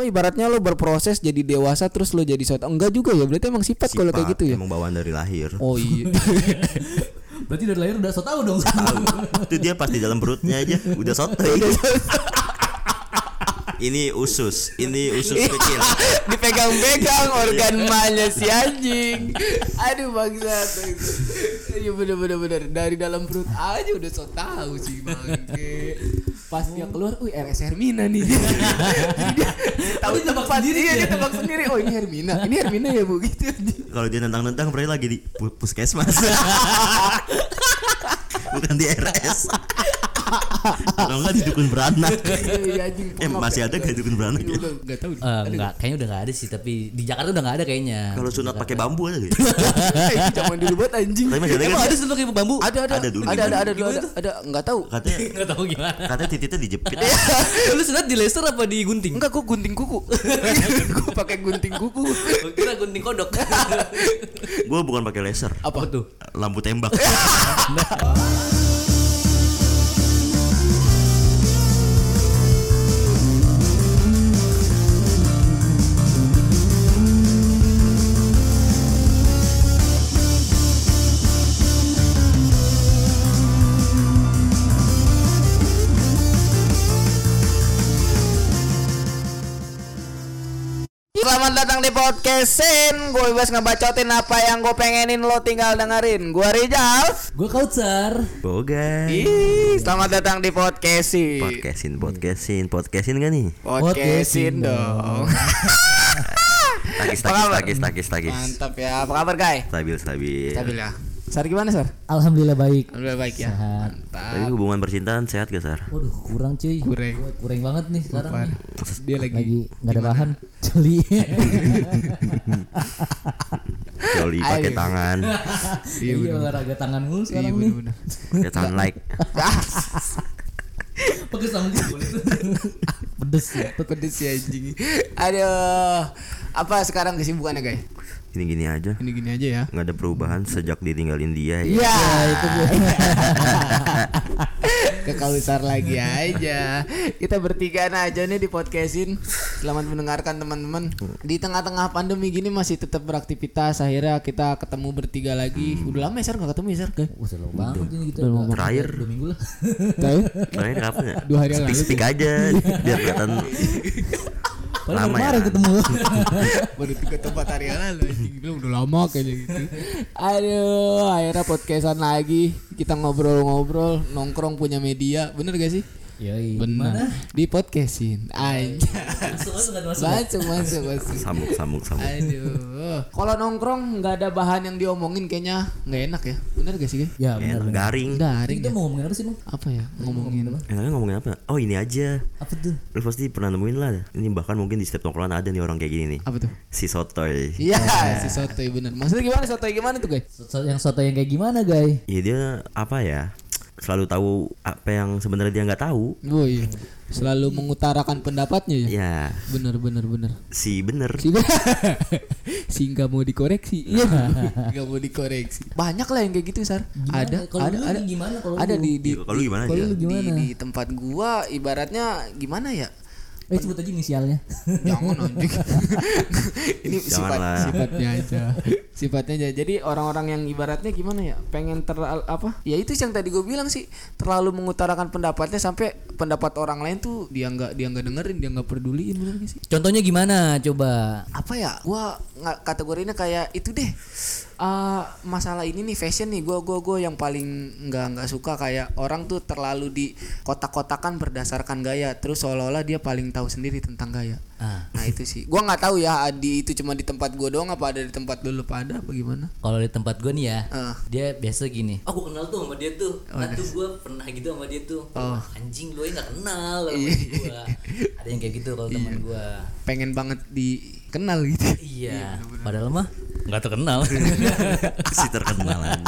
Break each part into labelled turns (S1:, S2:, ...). S1: Oh, ibaratnya lo berproses jadi dewasa terus lo jadi soto enggak juga ya berarti emang sifat, kalau kayak
S2: Sifat,
S1: gitu ya
S2: Emang bawaan dari lahir.
S1: oh iya
S3: Berarti dari lahir udah so tau dong.
S2: Itu dia pas di dalam perutnya aja udah soto. ini usus, ini usus
S1: Iya.
S2: kecil.
S1: dipegang-pegang organ mahnya si anjing Iya. aduh bangsa iya bener bener bener dari dalam perut aja udah so tau sih bangke pas dia keluar wih RS Hermina nih Jadi dia tahu
S3: Dia tebak
S1: tempat
S3: sendiri
S1: dia,
S3: ya?
S1: dia tebak sendiri oh ini Hermina ini Hermina ya bu gitu
S2: Kalau dia nentang-nentang berarti lagi di pu- puskesmas. Bukan di RS. Kalau enggak di dukun beranak.
S1: Iya, anjing
S2: Eh, masih ada gak dukun beranak ya?
S1: Udah, nggak tahu
S3: Eh, enggak, kayaknya udah nggak ada sih, tapi di Jakarta udah nggak ada kayaknya.
S2: Kalau sunat pakai bambu ada gitu.
S1: Eh, zaman dulu banget anjing
S2: Tapi masih ada
S3: Emang
S2: kan?
S3: ada sunat kayak bambu?
S1: ada ada
S2: Ada dulu
S1: ada ada
S2: gimana?
S1: ada dulu, ada ada nggak tahu
S2: Katanya
S3: Nggak tahu gimana.
S2: katanya titiknya dijepit.
S3: Lu sunat di laser apa di gunting?
S1: Enggak, gue gunting kuku. gue pakai gunting kuku.
S3: Gua Kira gunting kodok.
S2: Gue bukan pakai laser,
S3: apa tuh?
S2: lampu tembak.
S1: Selamat datang di podcast Sen. Gue bebas ngebacotin apa yang gue pengenin lo tinggal dengerin. Gue Rizal.
S3: Gua kautsar.
S2: Boga.
S1: Ih, selamat datang di podcast Sin.
S2: Podcastin, podcastin, podcastin gak nih?
S1: Podcastin dong.
S2: Tagis,
S1: Apa
S2: tagis,
S1: kabar?
S2: tagis, tagis, tagis.
S1: Mantap ya. Apa kabar, Guy?
S2: Stabil, stabil.
S1: Stabil ya. Sar gimana, Sar?
S3: Alhamdulillah baik.
S1: Alhamdulillah baik ya.
S3: Sehat.
S2: Tapi hubungan percintaan sehat gak, Sar?
S3: Waduh, kurang cuy.
S1: Kurang.
S3: Gua kurang banget nih sekarang. nih.
S1: Dia lagi
S3: Lagi nggak ada bahan. Jeli.
S2: Joli pakai
S1: Ayo.
S2: tangan,
S3: Iya, olahraga tangan mulu sekarang nih.
S2: pakai sunlight.
S1: Ah.
S3: Pakai sanggul boleh tuh. Pedes ya.
S1: pedes ya anjing. Aduh. Apa sekarang kesibukannya, Guy?
S2: Gini-gini aja.
S1: Gini-gini aja ya.
S2: Nggak ada perubahan sejak ditinggalin dia ya.
S1: Iya. itu Ke Kausar lagi aja. Kita bertigaan aja nih di podcastin. Selamat mendengarkan teman-teman. Di tengah-tengah pandemi gini masih tetap beraktivitas. Akhirnya kita ketemu bertiga lagi. Udah lama ya, Sar enggak ketemu ya, Sar?
S3: Wah, udah lama banget ini gitu.
S1: Udah lama.
S2: Terakhir.
S3: Dua minggu lah.
S1: Tahu?
S2: Terakhir kapan ya?
S1: Dua hari yang lalu. Iya.
S2: Speak-speak aja, biar kelihatan
S3: Padahal
S2: Lama ya.
S3: kemarin ketemu.
S1: Baru tiga tempat hari yang lalu anjing. Bilang udah lama kayaknya gitu. Aduh, akhirnya podcastan lagi. Kita ngobrol-ngobrol, nongkrong punya media. Bener gak sih?
S3: Yoi. Mana?
S1: Bener. Di podcastin. Aja.
S3: Masuk masuk nggak masuk.
S1: Masuk, masuk, masuk.
S2: sambung, sambung, sambung.
S1: Aduh. Kalau nongkrong nggak ada bahan yang diomongin kayaknya nggak enak ya. Bener gak sih? Guys?
S3: Ya gitu. benar.
S2: Enak, garing.
S1: Daring.
S3: Kita
S1: ya.
S3: mau ngomongin apa sih bang?
S1: Apa ya ngomongin?
S2: Enaknya ngomongin apa? Oh ini aja.
S3: Apa tuh?
S2: Lu pasti pernah nemuin lah. Ini bahkan mungkin di setiap nongkrongan ada nih orang kayak gini nih.
S1: Apa tuh?
S2: Si sotoy.
S1: Iya, si sotoy bener. Maksudnya gimana sotoy gimana tuh, guys?
S3: So- so- Yang soto yang kayak gimana guys?
S2: ya dia apa ya selalu tahu apa yang sebenarnya dia nggak tahu
S1: Oh iya. Selalu mengutarakan pendapatnya ya.
S2: ya
S1: Bener bener bener.
S2: si bener
S1: Si si nggak mau dikoreksi. Iya. Nggak mau dikoreksi. Banyak lah yang kayak gitu, Sar. ada
S3: Kalau
S1: ada
S3: lu
S1: ada.
S3: gimana kalau
S1: Ada
S3: lu?
S1: di di
S2: Iya, kalau lu gimana
S3: Kalau
S2: aja
S3: lu
S1: di,
S3: gimana?
S1: di tempat gua ibaratnya gimana ya?
S3: Eh sebut aja inisialnya.
S1: Jangan anjing. Ini
S2: Jangan
S1: sifat,
S2: lah.
S1: sifatnya aja. sifatnya aja. Jadi orang-orang yang ibaratnya gimana ya? Pengen ter apa? Ya itu yang tadi gue bilang sih, terlalu mengutarakan pendapatnya sampai pendapat orang lain tuh dia nggak dia nggak dengerin, dia nggak peduliin bener nggak sih?
S3: Contohnya gimana coba?
S1: Apa ya? Gua nggak kategorinya kayak itu deh. Eh, masalah ini nih fashion nih gua gua gua yang paling nggak nggak suka kayak orang tuh terlalu di kotak-kotakan berdasarkan gaya terus seolah-olah dia paling tahu sendiri tentang gaya
S3: Ah,
S1: nah itu sih gua nggak tahu ya di itu cuma di tempat gua doang apa ada di tempat dulu apa ada apa gimana
S3: kalau di tempat gue nih ya,
S1: Ah.
S3: dia biasa gini. Aku kenal tuh sama dia tuh. Nah tuh gue pernah gitu sama dia tuh. Wah, Anjing lu aja gak kenal sama gue. Ada yang kayak gitu kalau teman gue.
S1: pengen banget dikenal gitu
S3: Iya. Padahal mah nggak terkenal.
S2: si terkenalan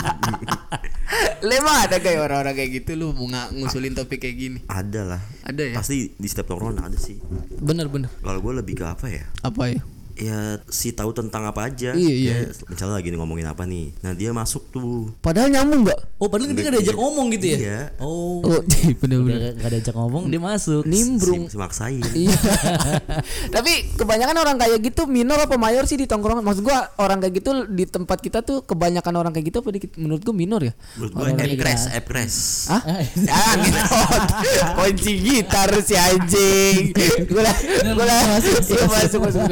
S1: lema ada kayak orang-orang kayak gitu lu mau nga- ngusulin topik kayak gini
S2: ada lah
S1: ada ya
S2: pasti di setiap nongkrongan ada sih
S1: bener bener
S2: kalau gue lebih ke apa ya
S1: apa ya
S2: ya si tahu tentang apa aja
S1: Iya, iya.
S2: Dia misalnya lagi ngomongin apa nih nah dia masuk tuh
S1: Padahal nyambung nggak?
S4: Oh
S3: kan
S4: padahal dia gak diajak ngomong gitu ya?
S2: Iya.
S4: Oh,
S1: Oh, bener-bener.
S4: gak, gak diajak ngomong dia masuk.
S1: Nimbrung.
S2: si, si maksain
S1: Iya. Tapi kebanyakan orang kayak gitu minor apa mayor sih di tongkrongan? Maksud gua orang kayak gitu di tempat kita tuh kebanyakan orang kayak gitu apa dikit? Menurut gua minor ya.
S2: menurut gue app crash app crash
S1: Hah? Jangan ngentot. Kunci gitar si anjing. Gua lah- gua lah- iya, masuk masuk.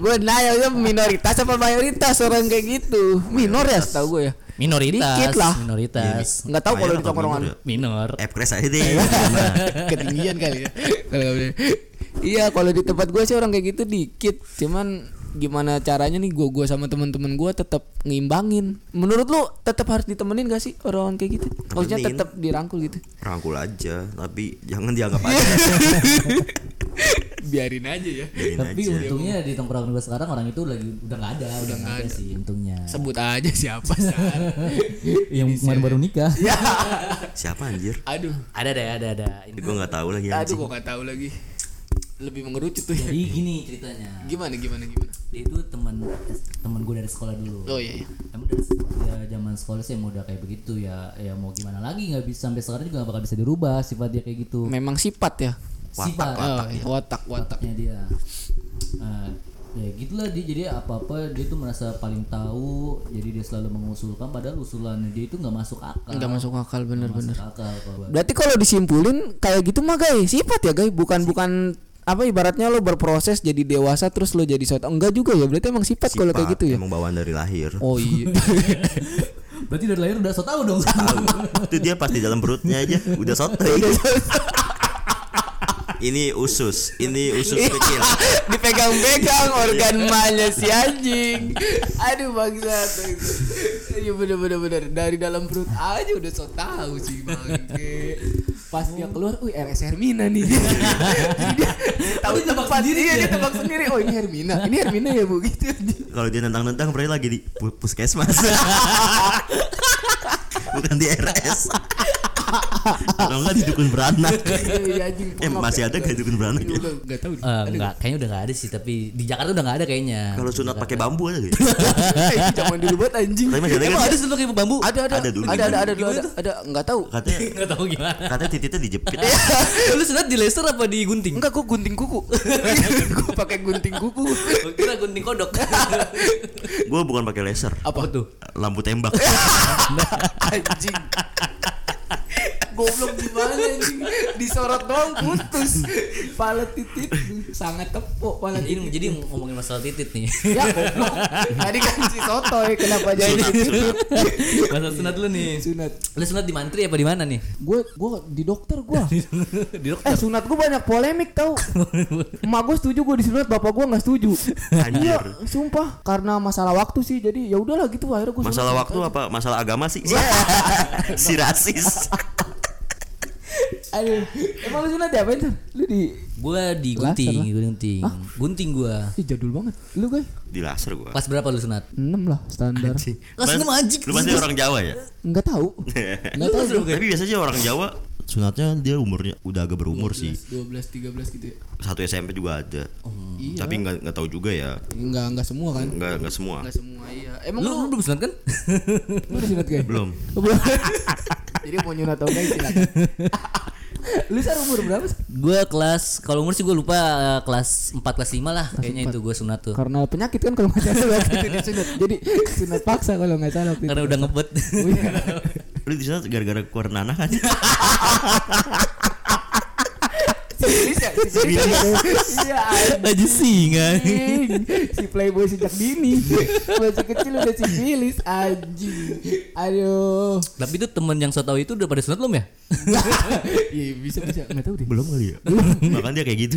S1: Gua nanya itu minoritas apa mayoritas orang kayak gitu? Minor ya setahu gua ya.
S4: Minoritas.
S1: Dikit lah.
S4: Minoritas.
S1: Enggak tahu kalau
S2: Mayor
S1: di
S2: atau
S1: tongkrongan.
S2: minor ya?
S4: Minor.
S3: Eh,
S2: app crash aja deh
S1: ketinggian kali ya kalau nggak bener. iya kalau di tempat gue sih orang kayak gitu dikit cuman gimana caranya nih gue gue sama teman-teman gue tetap ngimbangin menurut lu tetap harus ditemenin gak sih orang kayak gitu maksudnya
S2: Temenin.
S1: tetap dirangkul gitu
S2: rangkul aja tapi jangan dianggap aja
S1: biarin aja ya
S2: Biarin
S3: Tapi
S2: aja.
S3: untungnya di tongkrongan gue sekarang orang itu lagi udah nggak ada, udah nggak ada sih untungnya.
S1: sebut aja siapa
S3: Yang kemarin baru nikah.
S1: ya
S2: siapa anjir
S1: aduh
S4: Ada deh, ada ada.
S2: Ini gue nggak tahu lagi
S1: aduh
S2: anjing
S1: gue gak tahu lagi lebih mengerucut tuh ya.
S3: Jadi gini ceritanya.
S1: gimana gimana gimana
S3: Dia itu teman teman gue dari sekolah dulu.
S1: oh iya, iya.
S3: Emang dari ya, zaman sekolah sih emang udah kayak begitu ya. Ya mau gimana lagi nggak bisa sampai sekarang juga nggak bakal bisa dirubah sifat dia kayak gitu.
S1: memang sifat ya
S3: Sifat
S1: Oh, iya. watak watak
S3: wataknya dia. Nah, ya gitulah dia jadi apa-apa dia tuh merasa paling tahu jadi dia selalu mengusulkan padahal usulannya dia itu nggak masuk akal
S1: nggak masuk akal bener-bener
S3: masuk akal kalau gua.
S1: Berarti kalau disimpulin kayak gitu mah guys, sifat ya guys, bukan bukan apa ibaratnya lo berproses jadi dewasa terus lo jadi soto enggak juga ya berarti emang sifat, kalau kayak
S2: Sifat,
S1: gitu ya
S2: emang bawaan dari lahir
S1: oh iya
S3: berarti dari lahir udah so tau dong
S2: itu dia pas di dalam perutnya aja udah sotoy ini usus ini usus kecil
S1: dipegang-pegang organ
S2: Iya.
S1: mahnya si anjing aduh bangsa iya bener bener bener dari dalam perut aja udah so tau sih bangke pas dia keluar, wih RS Hermina nih. Dia tahu tebak sendiri, iya dia tebak sendiri. Oh ini Hermina, ini Hermina ya bu gitu. anjing.
S2: kalau dia nentang-nentang berarti lagi di pu- puskesmas bukan di RS kalau nggak di dukun beranak
S1: Iya, anjing,
S2: eh masih ada gak dukun beranak ya?
S1: Enggak tahu.
S4: Eh, enggak, kayaknya udah nggak ada sih, tapi di Jakarta udah nggak ada kayaknya.
S2: kalau sunat pakai bambu ada gitu
S1: Eh, zaman dulu banget anjing.
S2: tapi masih ada kan
S4: Emang ada sunat kayak bambu?
S1: Ada ada
S2: Ada dulu
S1: ada ada
S2: gimana?
S1: ada dulu, ada ada enggak tahu.
S2: katanya
S4: Nggak tahu gimana.
S2: katanya titiknya dijepit
S4: Lu sunat di laser apa di gunting?
S1: Enggak gua gunting kuku. gua pakai gunting kuku.
S4: Gua Oh, kira gunting kodok.
S2: gue bukan pakai laser
S1: Apa tuh?
S2: lampu tembak
S1: Anjing. Goblok gimana anjing? Disorot doang putus. Pala titik sangat tepuk pala
S4: jadi,
S1: titik.
S4: jadi ngomongin masalah titit nih.
S1: Ya goblok. Tadi kan si sotoy kenapa jadi
S2: sunat sunat
S4: Masalah sunat lu nih.
S1: sunat?
S4: Lu sunat di mantri apa di mana nih?
S1: Gue gue di dokter gua.
S4: di dokter.
S1: Eh sunat gue banyak polemik tau Emak gue setuju gue disunat Bapak gue gak setuju
S2: Anjir.
S1: Iya sumpah Karena masalah waktu sih Jadi ya udahlah gitu Akhirnya gue
S2: masalah waktu apa masalah agama sih si rasis
S1: Aduh Eh, Emang lu sunat diapain tuh? Lu di
S4: Gua di
S1: Laser
S4: gunting,
S1: lah.
S4: gunting. Gunting gua.
S1: Ih jadul banget Lu guys
S2: di laser gua
S4: Pas berapa lu sunat?
S1: 6 lah
S4: Lah,
S1: standar
S2: Mas-
S4: seneng anjing.
S2: lu pasti orang Jawa ya
S1: Nggak tahu Nggak tahu
S4: Lu
S2: tapi biasanya orang Jawa sunatnya dia umurnya udah agak berumur
S1: Iya,
S2: sih
S1: 12, 13 gitu ya
S2: satu SMP juga ada
S1: Iya.
S2: tapi nggak nggak tahu juga ya
S1: Enggak, enggak semua kan
S2: nggak nggak semua
S1: Enggak semua iya Emang
S4: Lu, lu
S1: lu
S4: belum sunat kan?
S1: Lu udah sunat guys?
S2: belum
S1: Belum Jadi mau nyunat atau enggak silakan Lu sekarang umur berapa sih?
S4: gua kelas kalau umur sih gua lupa eh, kelas 4 kelas 5 lah kayaknya itu gua sunat tuh.
S1: karena penyakit kan kalau nggak salah waktu itu disunat jadi sunat paksa kalau nggak salah waktu itu.
S4: Karena udah ngebet.
S1: Oh iya.
S2: lu di sana gara-gara keluar nanah kan
S1: Sifilis ya, sifilis ya. iya
S4: Aji singa.
S1: anjing si playboy sejak dini masih kecil udah sifilis anjing aduh
S4: Tapi itu temen yang so tau itu udah pada sunat belum ya?
S1: iya bisa bisa nggak tahu deh
S2: belum kali ya makanya dia kayak gitu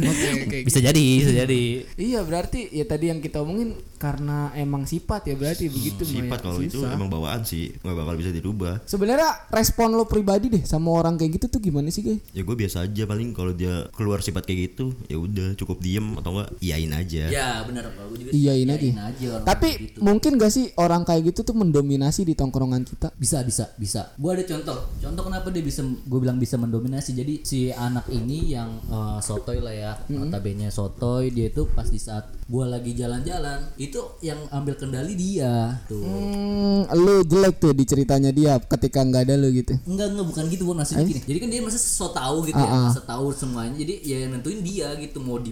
S4: Bisa jadi, bisa jadi.
S1: Iya berarti ya tadi yang kita omongin karena emang sifat ya berarti begitu Maya.
S2: Hmm, sifat kalau itu
S1: Susah.
S2: emang bawaan sih nggak bakal bisa dirubah
S1: Sebenarnya respon lo pribadi deh sama orang kayak gitu tuh gimana sih guys?
S2: ya gue biasa aja paling kalau dia keluar sifat sifat kayak gitu ya udah cukup diem atau enggak iyain aja
S1: Iya.
S4: ya benar kalau gue juga
S1: Iyain aja.
S3: Iyain aja
S2: Nah,
S3: orang kayak
S1: Tapi
S3: gitu.
S1: mungkin gak sih orang kayak gitu tuh mendominasi di tongkrongan kita?
S3: bisa bisa bisa gue ada contoh contoh kenapa dia bisa gue bilang bisa mendominasi jadi si anak ini yang eh, sotoy lah ya notabene sotoy dia itu pas di saat gue lagi jalan-jalan itu yang ambil kendali dia tuh
S1: Hmm, lu jelek tuh di ceritanya dia ketika nggak ada lu gitu.
S3: Enggak, enggak bukan gitu bukan maksudnya gini. Jadi kan dia masa so tahu gitu ya, masa tahu semuanya. Jadi ya yang nentuin dia gitu mau di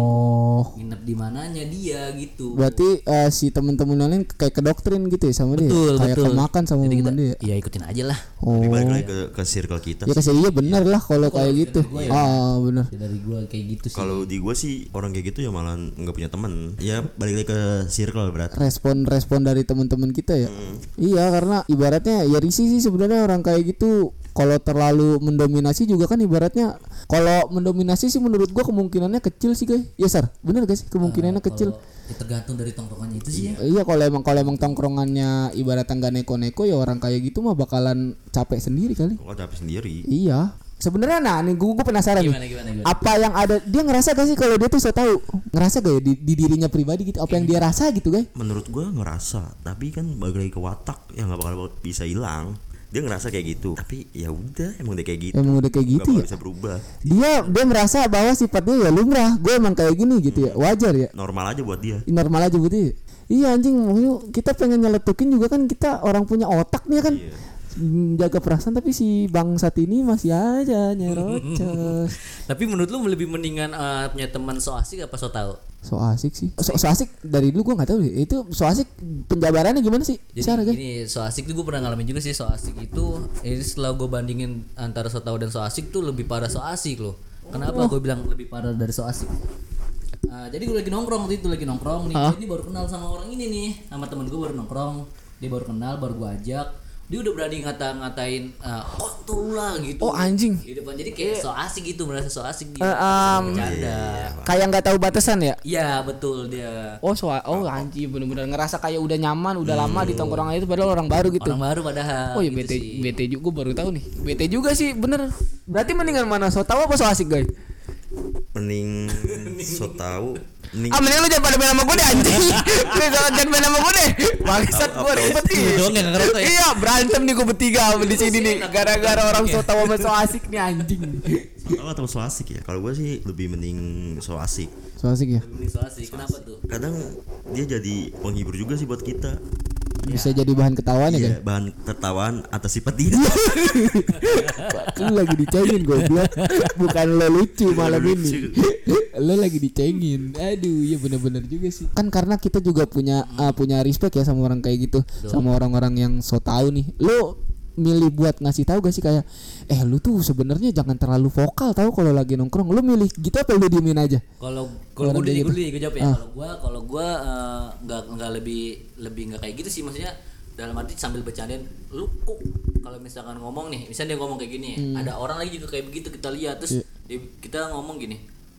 S1: Ah, Oh,
S3: mau nginep di mananya dia gitu.
S1: berarti eh, si temen-temen lain kayak ke doktrin gitu ya sama dia?
S3: Betul,
S1: kayak
S3: betul.
S1: kemakan sama
S3: Jadi kita
S1: momen dia.
S3: ya ikutin aja lah.
S1: Oh,
S2: Tapi balik lagi ke, ke circle kita
S1: ya kasih iya bener lah kalau kayak gitu. Ah, bener.
S3: Ya, dari gua kayak gitu sih.
S2: kalau di gua sih orang kayak gitu ya malah nggak punya teman ya balik lagi ke circle berarti
S1: respon-respon dari teman-teman kita ya.
S3: Hmm.
S1: Iya, karena ibaratnya ya risih sih sebenarnya orang kayak gitu. Kalau terlalu mendominasi juga kan ibaratnya kalau mendominasi sih menurut gua kemungkinannya kecil sih, guys. Ya, Sar. Bener gak sih? Kemungkinannya kecil.
S3: Ya, tergantung dari tongkrongannya itu sih ya.
S1: Iya, kalau emang kalau emang tongkrongannya ibaratnya nggak neko-neko ya orang kayak gitu mah bakalan capek sendiri kali.
S2: kok capek sendiri
S1: Iya. Sebenarnya nah nih gue penasaran
S4: gimana
S1: nih.
S4: gimana gimana
S1: Apa yang ada dia ngerasa gak sih kalau dia tuh so tahu ngerasa gak ya di, di dirinya pribadi gitu apa yang dia rasa gitu guys?
S2: menurut gua ngerasa tapi kan balik lagi ke watak ya nggak bakal bisa hilang dia ngerasa kayak gitu tapi ya udah emang dia kayak gitu
S1: Emang udah kayak
S2: nggak
S1: gitu
S2: bakal
S1: ya.
S2: bisa berubah
S1: dia dia merasa bahwa sifatnya ya lumrah gue emang kayak gini gitu ya wajar ya
S2: normal aja buat dia
S1: normal aja gitu ya. iya anjing maksudnya kita pengen nyeletukin juga kan kita orang punya otak nih ya kan
S2: Iya.
S1: Hmm, jaga perasaan tapi si bangsat ini masih aja nyerocos
S4: tapi menurut lu lebih mendingan eh, punya teman so asik apa so tahu
S1: so asik sih so, so asik dari dulu gue nggak tahu deh. itu so asik penjabarannya gimana sih
S4: jadi
S1: cara guys
S4: gini so asik tuh gue pernah ngalamin juga sih so asik itu ini setelah gue bandingin antara so tahu dan so asik tuh lebih parah so asik loh kenapa gue bilang lebih
S3: Lebih parah dari so asik.
S4: Eh,
S3: Ah, jadi gue lagi nongkrong waktu itu lagi nongkrong nih. Jadi baru kenal sama orang ini nih, sama temen gue baru nongkrong. Dia baru kenal, baru gue ajak.
S4: dia udah berani ngata-ngatain eh, kok tuh lah gitu
S1: oh anjing
S4: di depan jadi kayak so asik gitu merasa so asik dia bercanda
S1: kayak nggak tahu batasan ya
S4: Iya betul dia
S1: oh so oh anjing bener-bener ngerasa kayak udah nyaman udah lama di tongkrongan itu padahal orang baru gitu
S4: orang baru padahal
S1: Oh iya
S4: gitu
S1: BT
S4: sih.
S1: BT juga gua baru tahu nih. BT juga sih bener. Berarti mendingan mana so tahu apa so asik guys?
S2: mending so tau mending
S1: Ah mendingan lu jangan pada main sama gue deh anjing. lu jangan jangan main sama gue deh. Bangsat gue ribet nih.
S4: Doang ya, nggak ngerokok ya?
S1: Iya berantem nih gue bertiga di sini nih. Gara-gara orang so tahu sama so asik nih anjing.
S2: so atau so asik ya kalau gua sih lebih mending so asik
S1: So asik ya.
S4: Ini so asik kenapa tuh
S2: kadang dia jadi penghibur juga sih buat kita
S1: Bisa jadi bahan ketawaan ya
S2: Iya,
S1: guys.
S2: bahan tertawaan atas sifat dia
S1: Lu lagi dicengin goblok. Bukan lo lucu malam ini.
S2: lucu.
S1: lo lagi dicengin. Aduh, ya bener-bener juga sih. Kan karena kita juga punya ah, punya respect ya sama orang kayak gitu, sama orang-orang yang so tahu nih. Lo milih buat ngasih tahu gak sih kayak eh lu tuh sebenarnya jangan terlalu vokal tahu kalau lagi nongkrong lu milih gitu apa lu diemin aja
S4: Kalau kalau
S1: Orang
S4: gue
S1: kayak
S4: dulu
S1: gitu.
S4: gue jawab ya. Kalau gue kalau gue eh, nggak nggak lebih lebih nggak kayak gitu sih maksudnya dalam arti sambil bercandain lu kok kalau misalkan ngomong nih misalnya dia ngomong kayak gini
S1: Hmm.
S4: ada orang lagi juga kayak begitu kita lihat
S1: Iya.
S4: terus dia- kita ngomong gini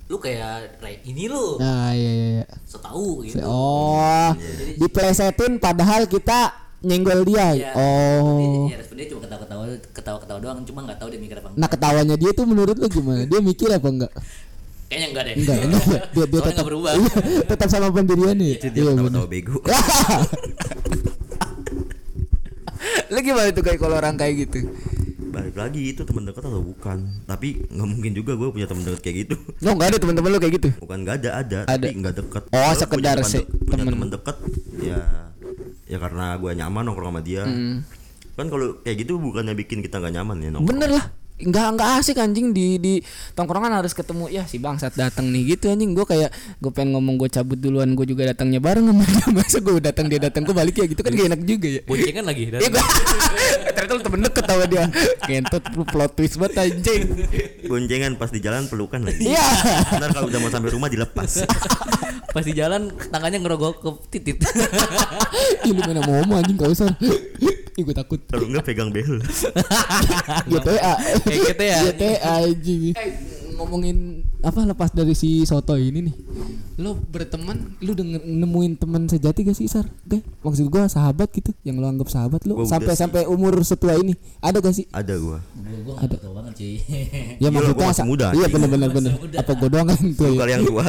S4: lu kayak Ray, ini lu
S1: nah iya iya, iya.
S4: setahu gitu
S1: oh diplesetin padahal kita nyenggol dia
S4: Ya,
S1: oh
S4: dia- ya responnya cuma ketawa-ketawa ketawa-ketawa doang cuma nggak tahu dia mikir apa enggak.
S1: nah ketawanya dia tuh menurut lu gimana dia mikir apa enggak
S4: kayaknya enggak deh
S3: Iya.
S1: enggak enggak dia, dia
S4: Soalnya
S1: tetap
S4: nggak berubah
S1: iya, tetap sama pendiriannya ya?
S2: dia
S1: Iya,
S2: ketawa-tawa bego
S1: lu gimana tuh kayak kalau orang kayak gitu
S2: balik lagi itu teman dekat atau bukan tapi nggak mungkin juga gue punya teman dekat kayak gitu
S1: lo nggak ada teman-teman lu kayak gitu
S2: bukan nggak ada ada,
S1: Ada.
S2: tapi nggak dekat
S1: Oh, sekedar sih,
S2: punya
S1: temen.
S2: teman dekat ya ya karena gue nyaman nongkrong sama dia kan kalau kayak gitu bukannya bikin kita nggak nyaman ya nongkrong
S1: Hmm. bener lah nggak nggak asik anjing di di tongkrongan harus ketemu ya si bangsat datang nih gitu anjing gue kayak gue pengen ngomong gue cabut duluan gue juga datangnya bareng sama dia masa gue datang dia datang gue balik ya gitu kan gak enak juga ya
S4: boncengan lagi
S1: Iya, gua- ternyata lu temen deket sama dia Ngentot lu plot twist banget anjing
S2: boncengan pas di jalan pelukan lagi
S1: Iya
S2: ntar kalau udah mau sampai rumah dilepas
S4: pas di jalan tangannya ngerogok ke titit
S1: Ih lu mana mau anjing gak usah Ih gue takut
S2: kalau nggak pegang behel
S1: GTA
S4: Kayak
S2: gitu ya?
S4: GTA.
S1: GTA anjing Eh, ngomongin apa lepas dari si soto ini nih lo berteman lu denger, nemuin teman sejati gak sih sar deh maksud gua sahabat gitu yang lo anggap sahabat lo
S2: Gua udah
S1: sampai
S2: sih.
S1: sampai umur setua ini ada gak sih
S2: ada gua
S3: Gue gue nggak tahu banget cuy.
S1: ya
S2: Iya,
S1: maksud
S2: gua
S1: gua
S2: masih
S1: sa-
S2: muda,
S1: iya
S2: anjing.
S1: bener bener bener
S3: muda.
S1: apa gua doang kan tuh
S2: lu
S1: ya?
S2: kali yang dua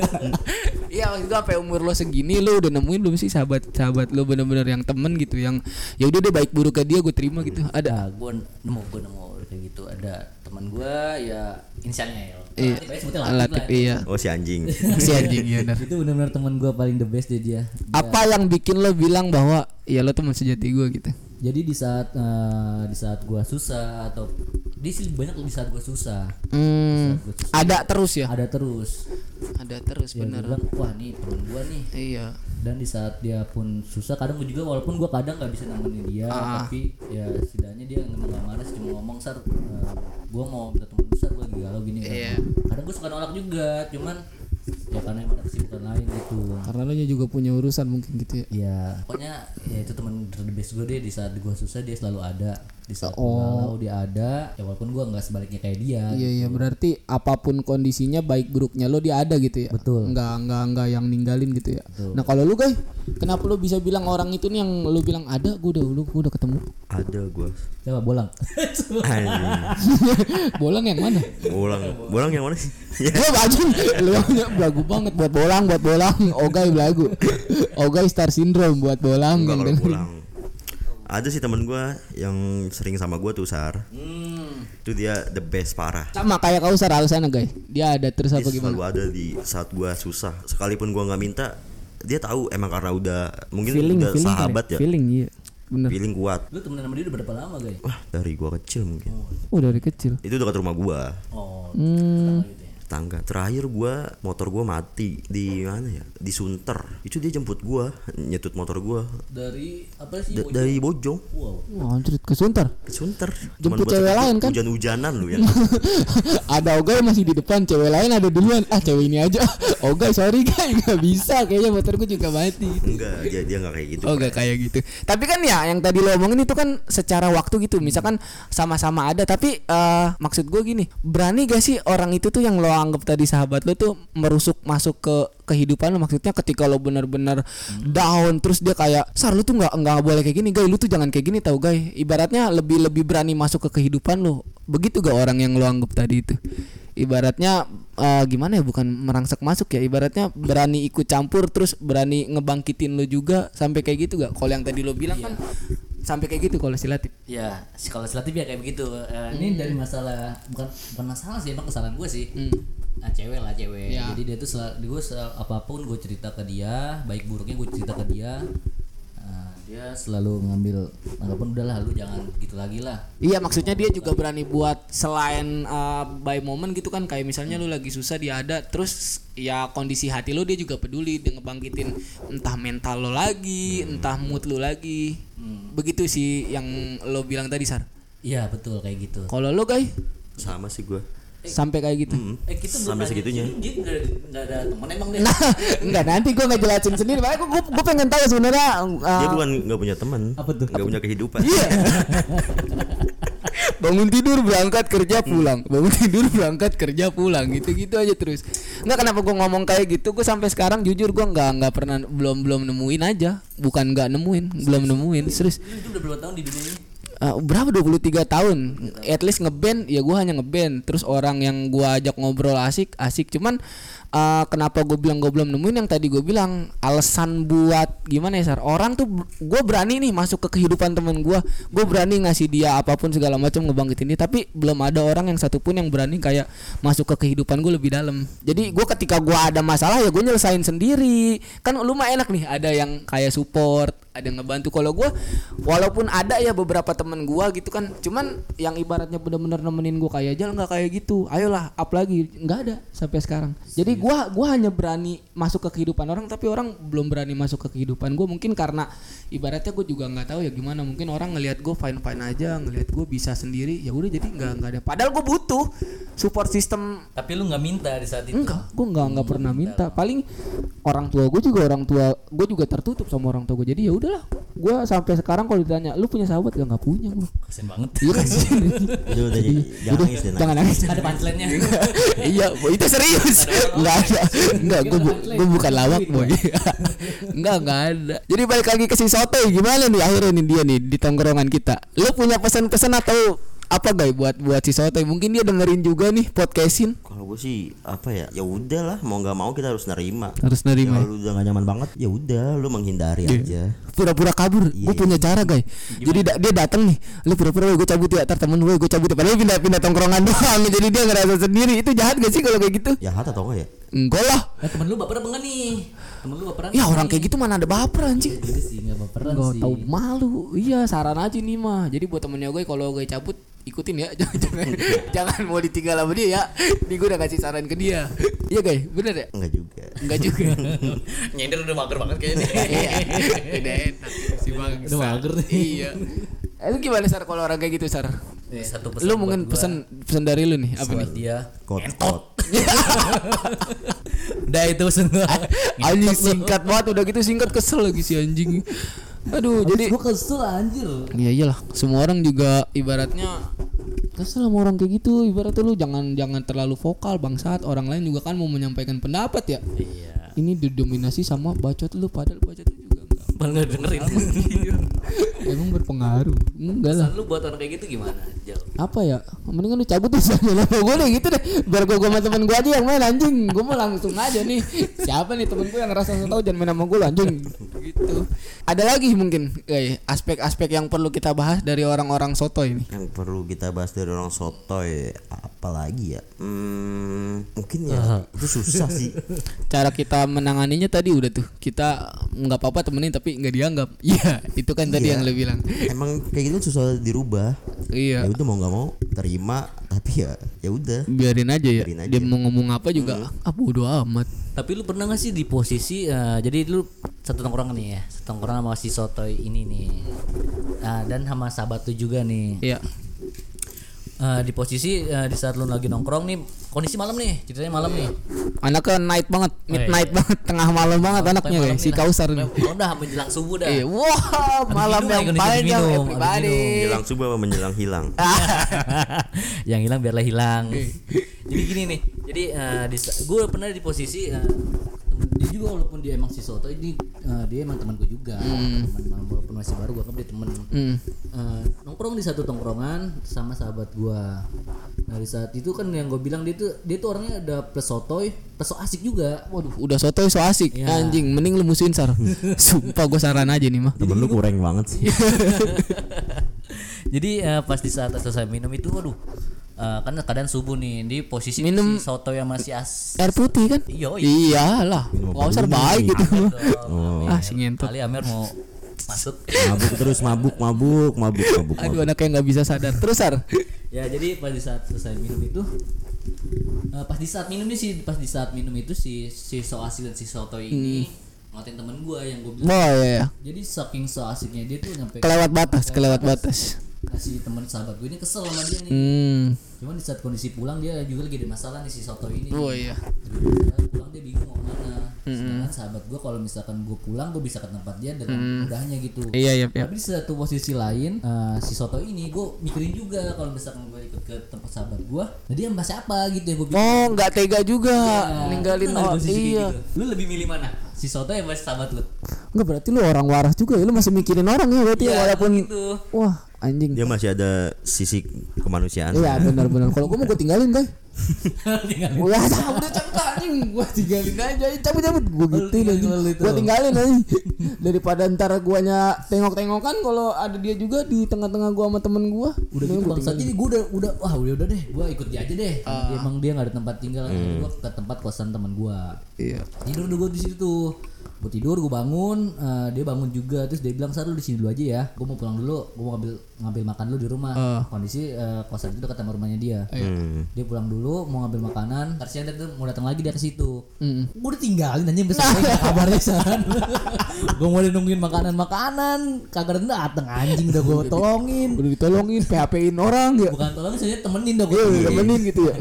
S1: iya maksud gua sampai umur lo segini lo udah nemuin belum sih sahabat sahabat lo bener-bener yang temen gitu yang ya udah deh baik buruknya dia gue terima gitu
S3: Ya,
S4: Nah,
S1: ada
S4: gue nemu gue nemu kayak gitu ada teman gue ya inisialnya ya.
S1: Iya.
S3: Baik, sebutnya
S1: Latif iya
S2: oh si anjing
S1: si anjing iya bener.
S3: ya. Itu benar-benar teman gue paling the best deh dia.
S1: apa yang bikin lo bilang bahwa ya lo teman sejati gue gitu
S3: Jadi di saat eh, di saat gue susah atau dia sih banyak di saat gue susah
S1: hmm, ada terus
S4: Iya.
S1: ya
S3: ada terus.
S1: ada terus
S3: Ya, gua
S1: bener
S3: bilang, wah nih temen gue nih
S1: iya
S3: dan di saat dia pun susah kadang gue juga walaupun gue kadang nggak bisa nemenin dia
S1: Ah.
S3: tapi ya setidaknya dia nggak nggak marah sih, cuma ngomong sar gue mau minta temen besar gue lagi galau gini
S1: Iya.
S3: kadang gue suka nolak juga cuman ya karena emang ada kesibukan lain gitu
S1: karena lo juga punya urusan mungkin gitu ya
S3: ya pokoknya ya itu teman the best gue deh di saat gue susah dia selalu ada di saat gua galau dia ada ya walaupun gue nggak sebaliknya kayak dia
S1: Oh. iya iya berarti apapun kondisinya baik buruknya lo dia ada gitu ya
S3: Betul.
S1: nggak nggak nggak yang ninggalin gitu ya nah kalau lu guys kenapa lo bisa bilang orang itu nih yang lo bilang ada gue udah lu gua udah ketemu
S2: ada gua
S3: coba bolang
S2: anjing
S1: bolang yang mana
S2: bolang bolang yang mana sih
S1: Lo anjing lu belagu banget buat bolang buat bolang ogai belagu ogai star syndrome buat bolang
S2: enggak
S1: yang
S2: kalau
S1: denger.
S2: pulang ada sih temen gua yang sering sama gua tuh sar itu dia the best parah
S1: sama kayak kau sar alasannya guys dia ada terus apa
S2: dia
S1: gimana
S2: selalu ada di saat gua susah sekalipun gua nggak minta dia tahu emang karena udah mungkin
S1: feeling
S2: udah
S1: feeling kali.
S2: sahabat ya
S1: feeling iya bener
S2: feeling kuat
S3: lu temenan sama dia udah berapa lama guys
S2: wah dari gua kecil mungkin
S1: oh dari kecil
S2: itu dekat rumah gua
S3: oh
S1: Hmm,
S3: gitu ya.
S2: tangga terakhir gua motor gua mati di mana ya di Sunter itu dia jemput gua nyetut motor gua
S3: dari apa sih
S2: Da- dari Bojong
S3: wow
S1: wah anjir kesuntar
S2: ke Sunter
S1: Jemput
S2: buat
S1: cewek
S2: sekedar
S1: lain kan?
S2: hujan-hujanan lu ya
S1: ada Ogai masih di depan cewek lain ada duluan ah cewek ini aja Ogai sorry guys nggak bisa kayaknya motorku juga mati
S2: enggak dia dia nggak kayak gitu
S1: Oh gak kayak gitu Tapi kan ya yang tadi lo omongin itu kan secara waktu gitu Misalkan sama-sama ada Tapi eh, maksud gue gini Berani gak sih orang itu tuh yang lo anggap tadi sahabat lo tuh Merusuk masuk ke kehidupan lo Maksudnya ketika lo bener-bener down Terus dia kayak Sar lu tuh gak, nggak boleh kayak gini Guys lu tuh jangan kayak gini tau guys Ibaratnya lebih-lebih berani masuk ke kehidupan lo Begitu gak orang yang lo anggap tadi itu Ibaratnya eh, gimana ya bukan merangsak masuk ya ibaratnya berani ikut campur terus berani ngebangkitin lo juga sampai kayak gitu gak kalau yang tadi lo bilang kan sampai kayak gitu kalau si Latif
S4: Ya, si- kalau selektif ya kayak begitu. Eh,
S1: Hmm.
S3: ini dari masalah bukan bukan masalah sih emang kesalahan gue sih nah cewek lah cewek
S1: Ya.
S3: jadi dia tuh selalu gue apapun gue cerita ke dia baik buruknya gue cerita ke dia Nah, dia selalu ngambil anggapan udahlah lu jangan gitu lagi lah
S1: Iya maksudnya dia juga berani buat selain eh, by moment gitu kan kayak misalnya lu lagi susah dia ada terus ya kondisi hati lo dia juga peduli dia ngebangkitin entah mental lo lagi entah mood lo lagi begitu sih yang lo bilang tadi Sar
S3: iya betul kayak gitu
S1: kalau lo guys
S2: sama sih gua
S1: sampai kayak
S2: Hmm.
S1: gitu
S4: eh kita belum
S2: Sampai
S4: nanya,
S2: segitunya.
S4: Dia dia nggak ada- nggak ada temen emang deh.
S1: Nah, Enggak nanti gue ngejelasin sendiri Makanya gue, gue pengen tahu sebenarnya uh,
S2: dia bukan nggak punya teman nggak punya kehidupan
S1: Iya Bangun tidur berangkat kerja pulang Bangun tidur berangkat kerja pulang Gitu-gitu aja terus Enggak kenapa gue ngomong kayak gitu Gue sampai sekarang jujur gue nggak nggak pernah Belum belum nemuin aja Bukan nggak nemuin Belum nemuin Serius
S4: Lu itu udah berapa tahun di dunia ini?
S1: Eh, berapa 23 tahun at least ngeband ya gua hanya ngeband terus orang yang gua ajak ngobrol asik asik cuman eh, kenapa gue bilang gue belum nemuin yang tadi gue bilang alasan buat gimana ya sar orang tuh gue berani nih masuk ke kehidupan temen gua gue berani ngasih dia apapun segala macam ngebangkitin dia tapi belum ada orang yang satupun yang berani kayak masuk ke kehidupan gue lebih dalam jadi gua ketika gua ada masalah ya gue nyelesain sendiri kan lu mah enak nih ada yang kayak support ada yang ngebantu kalau gua walaupun ada ya beberapa temen gua gitu kan cuman yang ibaratnya bener-bener nemenin gua kayak aja nggak kayak gitu ayolah up lagi nggak ada sampai sekarang jadi gua gua hanya berani masuk ke kehidupan orang tapi orang belum berani masuk ke kehidupan gua mungkin karena ibaratnya gue juga nggak tahu ya gimana mungkin orang ngelihat gue fine fine aja ngelihat gue bisa sendiri ya udah jadi nggak nggak ada padahal gue butuh support system
S4: Tapi lu nggak minta di saat itu.
S1: Enggak, gue nggak nggak pernah minta. Paling orang tua gue juga orang tua gue juga tertutup sama orang tua gue. Jadi ya udahlah, gue sampai sekarang kalau ditanya, lu punya sahabat gak nggak punya gue.
S3: kasian banget
S1: Iya kan?
S2: Udah, udah, jangan nangis deh, nangis.
S1: Jangan nangis.
S4: Ada punchline-nya.
S1: Iya, bo- itu serius. Nggak nggak ada nggak gue bu, gua bukan lawak boy nggak nggak ada jadi balik lagi ke si soto gimana nih akhirnya nih dia nih di tongkrongan kita lu punya pesan-pesan atau apa guys buat buat si soto mungkin dia dengerin juga nih podcastin
S2: Kalau gue sih apa ya? Ya udahlah, mau nggak mau kita harus nerima.
S1: harus
S2: Kalau
S1: nerima
S2: lu udah gak nyaman banget, ya udah, lu menghindari aja.
S1: pura-pura kabur gue punya cara guys jadi da- dia datang nih lu pura-pura gue cabut ya ntar temen gue gue cabut ya padahal dia pindah-pindah tongkrongan doang jadi dia ngerasa sendiri itu jahat gak sih kalau kayak gitu
S2: Jahat atau enggak ya?
S1: enggak lah
S3: Eh, temen lu baper apa enggak nih? Temen lu baperan?
S1: ya orang kayak gitu mana ada baper anjing
S3: Jadi sih enggak baperan
S1: Gak
S3: sih.
S1: tahu malu. Iya, saran aja nih mah. Jadi buat temennya gue kalau gue cabut ikutin ya jangan jangan, jangan mau ditinggal sama dia ya. Ini gue udah kasih saran ke dia. Iya, guys. Bener ya?
S2: Enggak juga.
S1: Enggak juga.
S4: nyender udah mager banget kayaknya nih.
S1: Iya. Udah enak si bangsa.
S3: Udah mager nih.
S1: Iya. Eh, Lu gimana Sar kalau orang kayak gitu Sar?
S4: Nih, satu pesan
S1: Lu mungkin pesan pesan dari lu nih apa nih?
S3: Buat dia.
S2: Kot kot.
S3: Udah itu semua.
S1: Anjing singkat banget udah gitu singkat kesel lagi si anjing. Aduh, jadi
S3: Jadi Eh, gua kesel anjir.
S1: Iya iyalah, semua orang juga ibaratnya kesel sama orang kayak gitu. Ibaratnya lu jangan jangan terlalu vokal bangsat. Orang lain juga kan mau menyampaikan pendapat ya. Iya. Ini didominasi sama bacot lu padahal bacot lu juga enggak.
S4: Bang nggak dengerin.
S1: Emang berpengaruh. Enggak lah.
S4: Pesan lu iya. buat orang kayak gitu gimana? Jal.
S1: Apa ya? Mendingan lu cabut deh sama gue deh gitu deh. Biar gue sama temen gue aja yang main anjing. Gue mau langsung aja nih. Siapa nih temen gue yang ngerasa so tau jangan main sama gue lu, anjing. Gitu. Ada lagi mungkin kayak aspek-aspek yang perlu kita bahas dari orang-orang soto ini.
S2: Yang perlu kita bahas dari orang sotoy apalagi ya? Hmm, mungkin ya itu susah sih.
S1: cara kita menanganinya tadi udah tuh kita nggak apa-apa temenin tapi nggak dianggap iya itu kan tadi
S2: Iya.
S1: yang lo bilang
S2: Emang kayak gitu susah dirubah.
S1: iya
S2: Ya udah mau nggak mau terima, tapi ya ya udah.
S1: biarin aja ya
S2: Biarin aja. Hmm.
S1: dia mau ngomong apa juga ah bodo amat
S4: Tapi lu pernah gak sih di posisi eh, jadi lu satu tongkrongan nih ya, satu tongkrongan sama si Sotoy ini nih. Nah, dan sama sahabat lu juga nih.
S1: iya
S4: Eh, di posisi eh, di saat lu lagi nongkrong nih, kondisi malam nih, ceritanya malam nih.
S1: anaknya night banget
S4: Oh,
S1: midnight banget tengah malam banget anaknya
S4: iya, malam
S1: ya,
S4: nih
S1: si
S4: lah.
S1: kausar ini
S4: Oh, udah menjelang subuh dah.
S3: Eh,
S1: iya wah malam
S4: minum,
S1: yang
S4: lagi
S1: panjang
S4: minum,
S1: everybody
S2: Hilang subuh apa menjelang hilang?
S4: yang hilang biarlah hilang jadi gini nih jadi
S3: eh,
S4: gue pernah di posisi eh,
S3: dia juga walaupun dia emang si soto ini eh, dia emang teman gue juga
S4: Hmm.
S3: teman emang walaupun masih baru gue kan dia temen
S1: Hmm.
S3: Eh, nongkrong di satu tongkrongan sama sahabat gue dari saat itu kan yang gue bilang dia tuh dia tuh orangnya ada plus sotoy plus so asik juga
S1: waduh udah soto so asik anjing mending lu musuhin sar sumpah gue saran aja nih mah
S2: Temen lu kurang banget sih.
S1: Iya.
S4: jadi eh, pas di saat selesai minum itu waduh eh, kan keadaan subuh nih di posisi
S1: Minum-
S4: si soto yang masih as
S1: air putih kan
S4: Iya, iya.
S1: iyalah kausar baik gitu ah si ngentot
S4: kali Amer mau masuk
S2: Mabuk Oh. terus mabuk mabuk mabuk mabuk. mabuk.
S1: Iya. Aduh anaknya nggak bisa sadar. Terus Sar.
S3: ya jadi pas di saat selesai minum itu eh, pas di saat minum nih sih pas di saat minum itu si si so asik dan si soto ini
S1: Hmm.
S3: ngatain temen gue yang gue bilang
S1: Wah ya, ya.
S3: jadi saking so asiknya dia tuh nyampe
S1: Kelewat batas, kelewat batas.
S3: kasih teman sahabat gue ini kesel sama dia nih
S1: Hmm.
S3: Cuman di saat kondisi pulang dia juga lagi ada masalah nih si Soto ini.
S1: Oh iya.
S3: Jadi di saat pulang dia bingung mau kemana. Sedangkan sahabat gue kalau misalkan gue pulang gue bisa ke tempat dia dengan mudahnya gitu.
S1: Iya iya iya.
S3: Tapi di satu posisi lain eh, si Soto ini gue mikirin juga kalau misalkan gue ikut ke tempat sahabat gue, nah dia sama siapa gitu ya gue bilang.
S1: Oh nggak tega juga ninggalin
S3: Pernah di
S1: orang.
S3: posisi kayak
S1: Iya.
S3: gitu. Lu lebih milih mana? Si Soto yang masih sahabat lu?
S1: Enggak berarti lu orang waras juga ya. Lu masih mikirin orang ya berarti ya, walaupun
S3: gitu.
S1: wah anjing.
S2: Dia masih ada sisi kemanusiaan.
S1: Iya benar-benar. Kalau gue mau gue tinggalin guys.
S3: Tinggal
S1: Wah cabut udah cabut anjing. Gue tinggalin aja. Cabut cabut. Gue gitu
S3: tinggalin
S1: anjing.
S3: lu itu.
S1: Gue tinggalin anjing. Daripada ntar guanya tengok-tengokan kalau ada dia juga di tengah-tengah gua sama temen gua.
S3: udah gitu bangsa jadi gue udah udah wah udah udah deh gue ikut dia aja deh
S1: Ah.
S3: Dia emang dia nggak ada tempat tinggal jadi gue ke tempat kosan teman gue
S1: Iya.
S3: tidur dulu gue di situ tuh gue tidur gue bangun eh, dia bangun juga terus dia bilang sar lu di sini dulu aja ya gue mau pulang dulu gue mau ngambil ngambil makan dulu di rumah kondisi eh, kosan itu dekat sama rumahnya dia
S1: Eh.
S2: Hmm.
S3: dia pulang dulu mau ngambil makanan terus dia tuh mau datang lagi dia ke situ gue udah tinggalin anjing besok
S1: Nah.
S3: gak kabarnya san gue mau nungguin makanan makanan kagak dateng anjing udah gue tolongin
S1: Udah ditolongin, PHP-in orang ya.
S3: bukan tolong sebenarnya temenin dong
S1: Gue udah temenin gitu ya.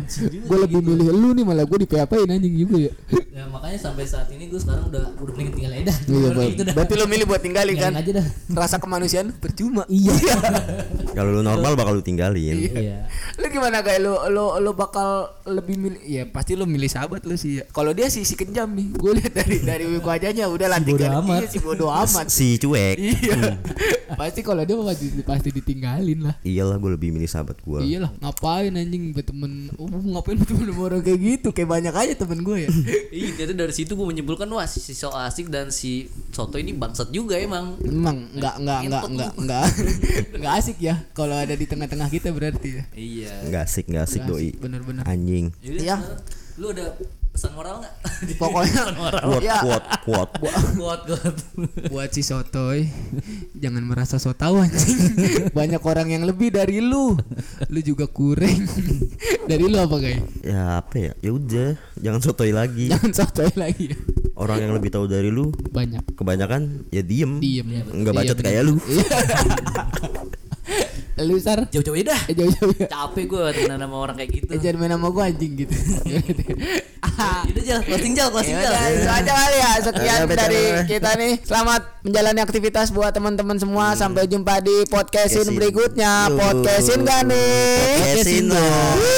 S1: Gue lebih milih lu nih malah gue di PHP-in anjing juga ya.
S3: ya, makanya sampai saat ini gue sekarang udah udah mending tinggal aja dah
S1: Iya,
S3: Udah gitu dah
S1: berarti lu milih buat tinggalin kan?
S3: Tinggalin aja dah
S1: Rasa kemanusiaan percuma.
S3: iya
S2: Kalau lu normal bakal lu tinggalin.
S3: Iya.
S1: lu gimana kayak lu lu lu bakal lebih milih ya pasti lu milih sahabat lu sih ya. kalau dia sih si kejam nih gue lihat dari dari wajahnya udah lah
S3: Si bodo
S1: tinggal-
S3: amat.
S1: iya, si bodo amat
S2: Si cuek.
S1: iya pasti kalau dia pasti pasti ditinggalin lah
S2: Iyalah gue lebih milih sahabat gua.
S1: Iyalah, ngapain anjing berteman? Oh, ngapain berteman sama orang kayak gitu? Kayak banyak aja temen gue ya.
S4: Iya, ternyata dari situ gue menyimpulkan wah si so asik dan si soto ini bangsat juga emang.
S1: Emang nggak nggak nggak nggak nggak nggak asik ya kalau ada di tengah-tengah kita berarti ya.
S4: Iya.
S2: Nggak asik, nggak asik doi.
S1: Bener-bener.
S2: Anjing.
S4: Yaudah,
S1: Iya.
S4: sekarang eh, Lu ada pesan moral nggak?
S1: Pokoknya
S2: Kuat,
S1: ya,
S2: kuat, kuat.
S4: Kuat kuat.
S1: buat si sotoy jangan merasa so tau anjing. Banyak orang yang lebih dari lu. Lu juga kurang. dari lu apa guys?
S2: Ya apa ya? Ya udah, jangan sotoy lagi.
S1: Jangan sotoy lagi. ya.
S2: Orang yang lebih tahu dari lu
S1: Banyak.
S2: kebanyakan ya diem.
S1: Diem.
S2: Nggak
S1: Iya,
S2: bacot
S1: bener.
S2: kayak lu.
S1: lu sar
S4: Jauh-jauh aja dah.
S1: eh, jauh-jauh ya.
S4: Capek gue temenan sama orang kayak gitu.
S1: Eh, jangan main sama gue anjing gitu. Ah.
S4: Yaudah jal, closing jal, closing jal.
S1: Ya udah, itu aja kali ya. Sekian
S2: Oke,
S1: dari
S2: oke.
S1: kita nih. Selamat menjalani aktivitas buat teman-teman semua. Sampai jumpa di podcastin
S2: Podcastin.
S1: berikutnya.
S2: Iya Yuh.
S1: Podcastin gak nih?
S2: Podcastin dong.
S1: Wuh.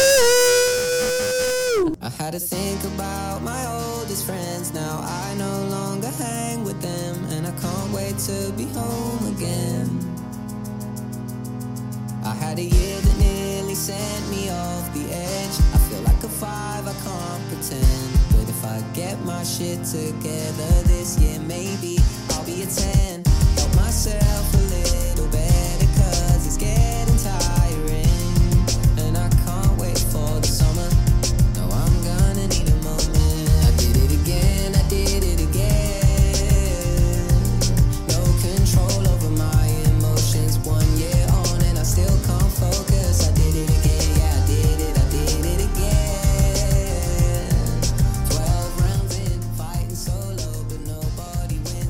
S5: I had to think about my oldest friends. Now I no longer hang with them, and I can't wait to be home again. I had a year that nearly sent me off the edge. I feel like a five, I can't pretend. But if I get my shit together this year, maybe I'll be a ten.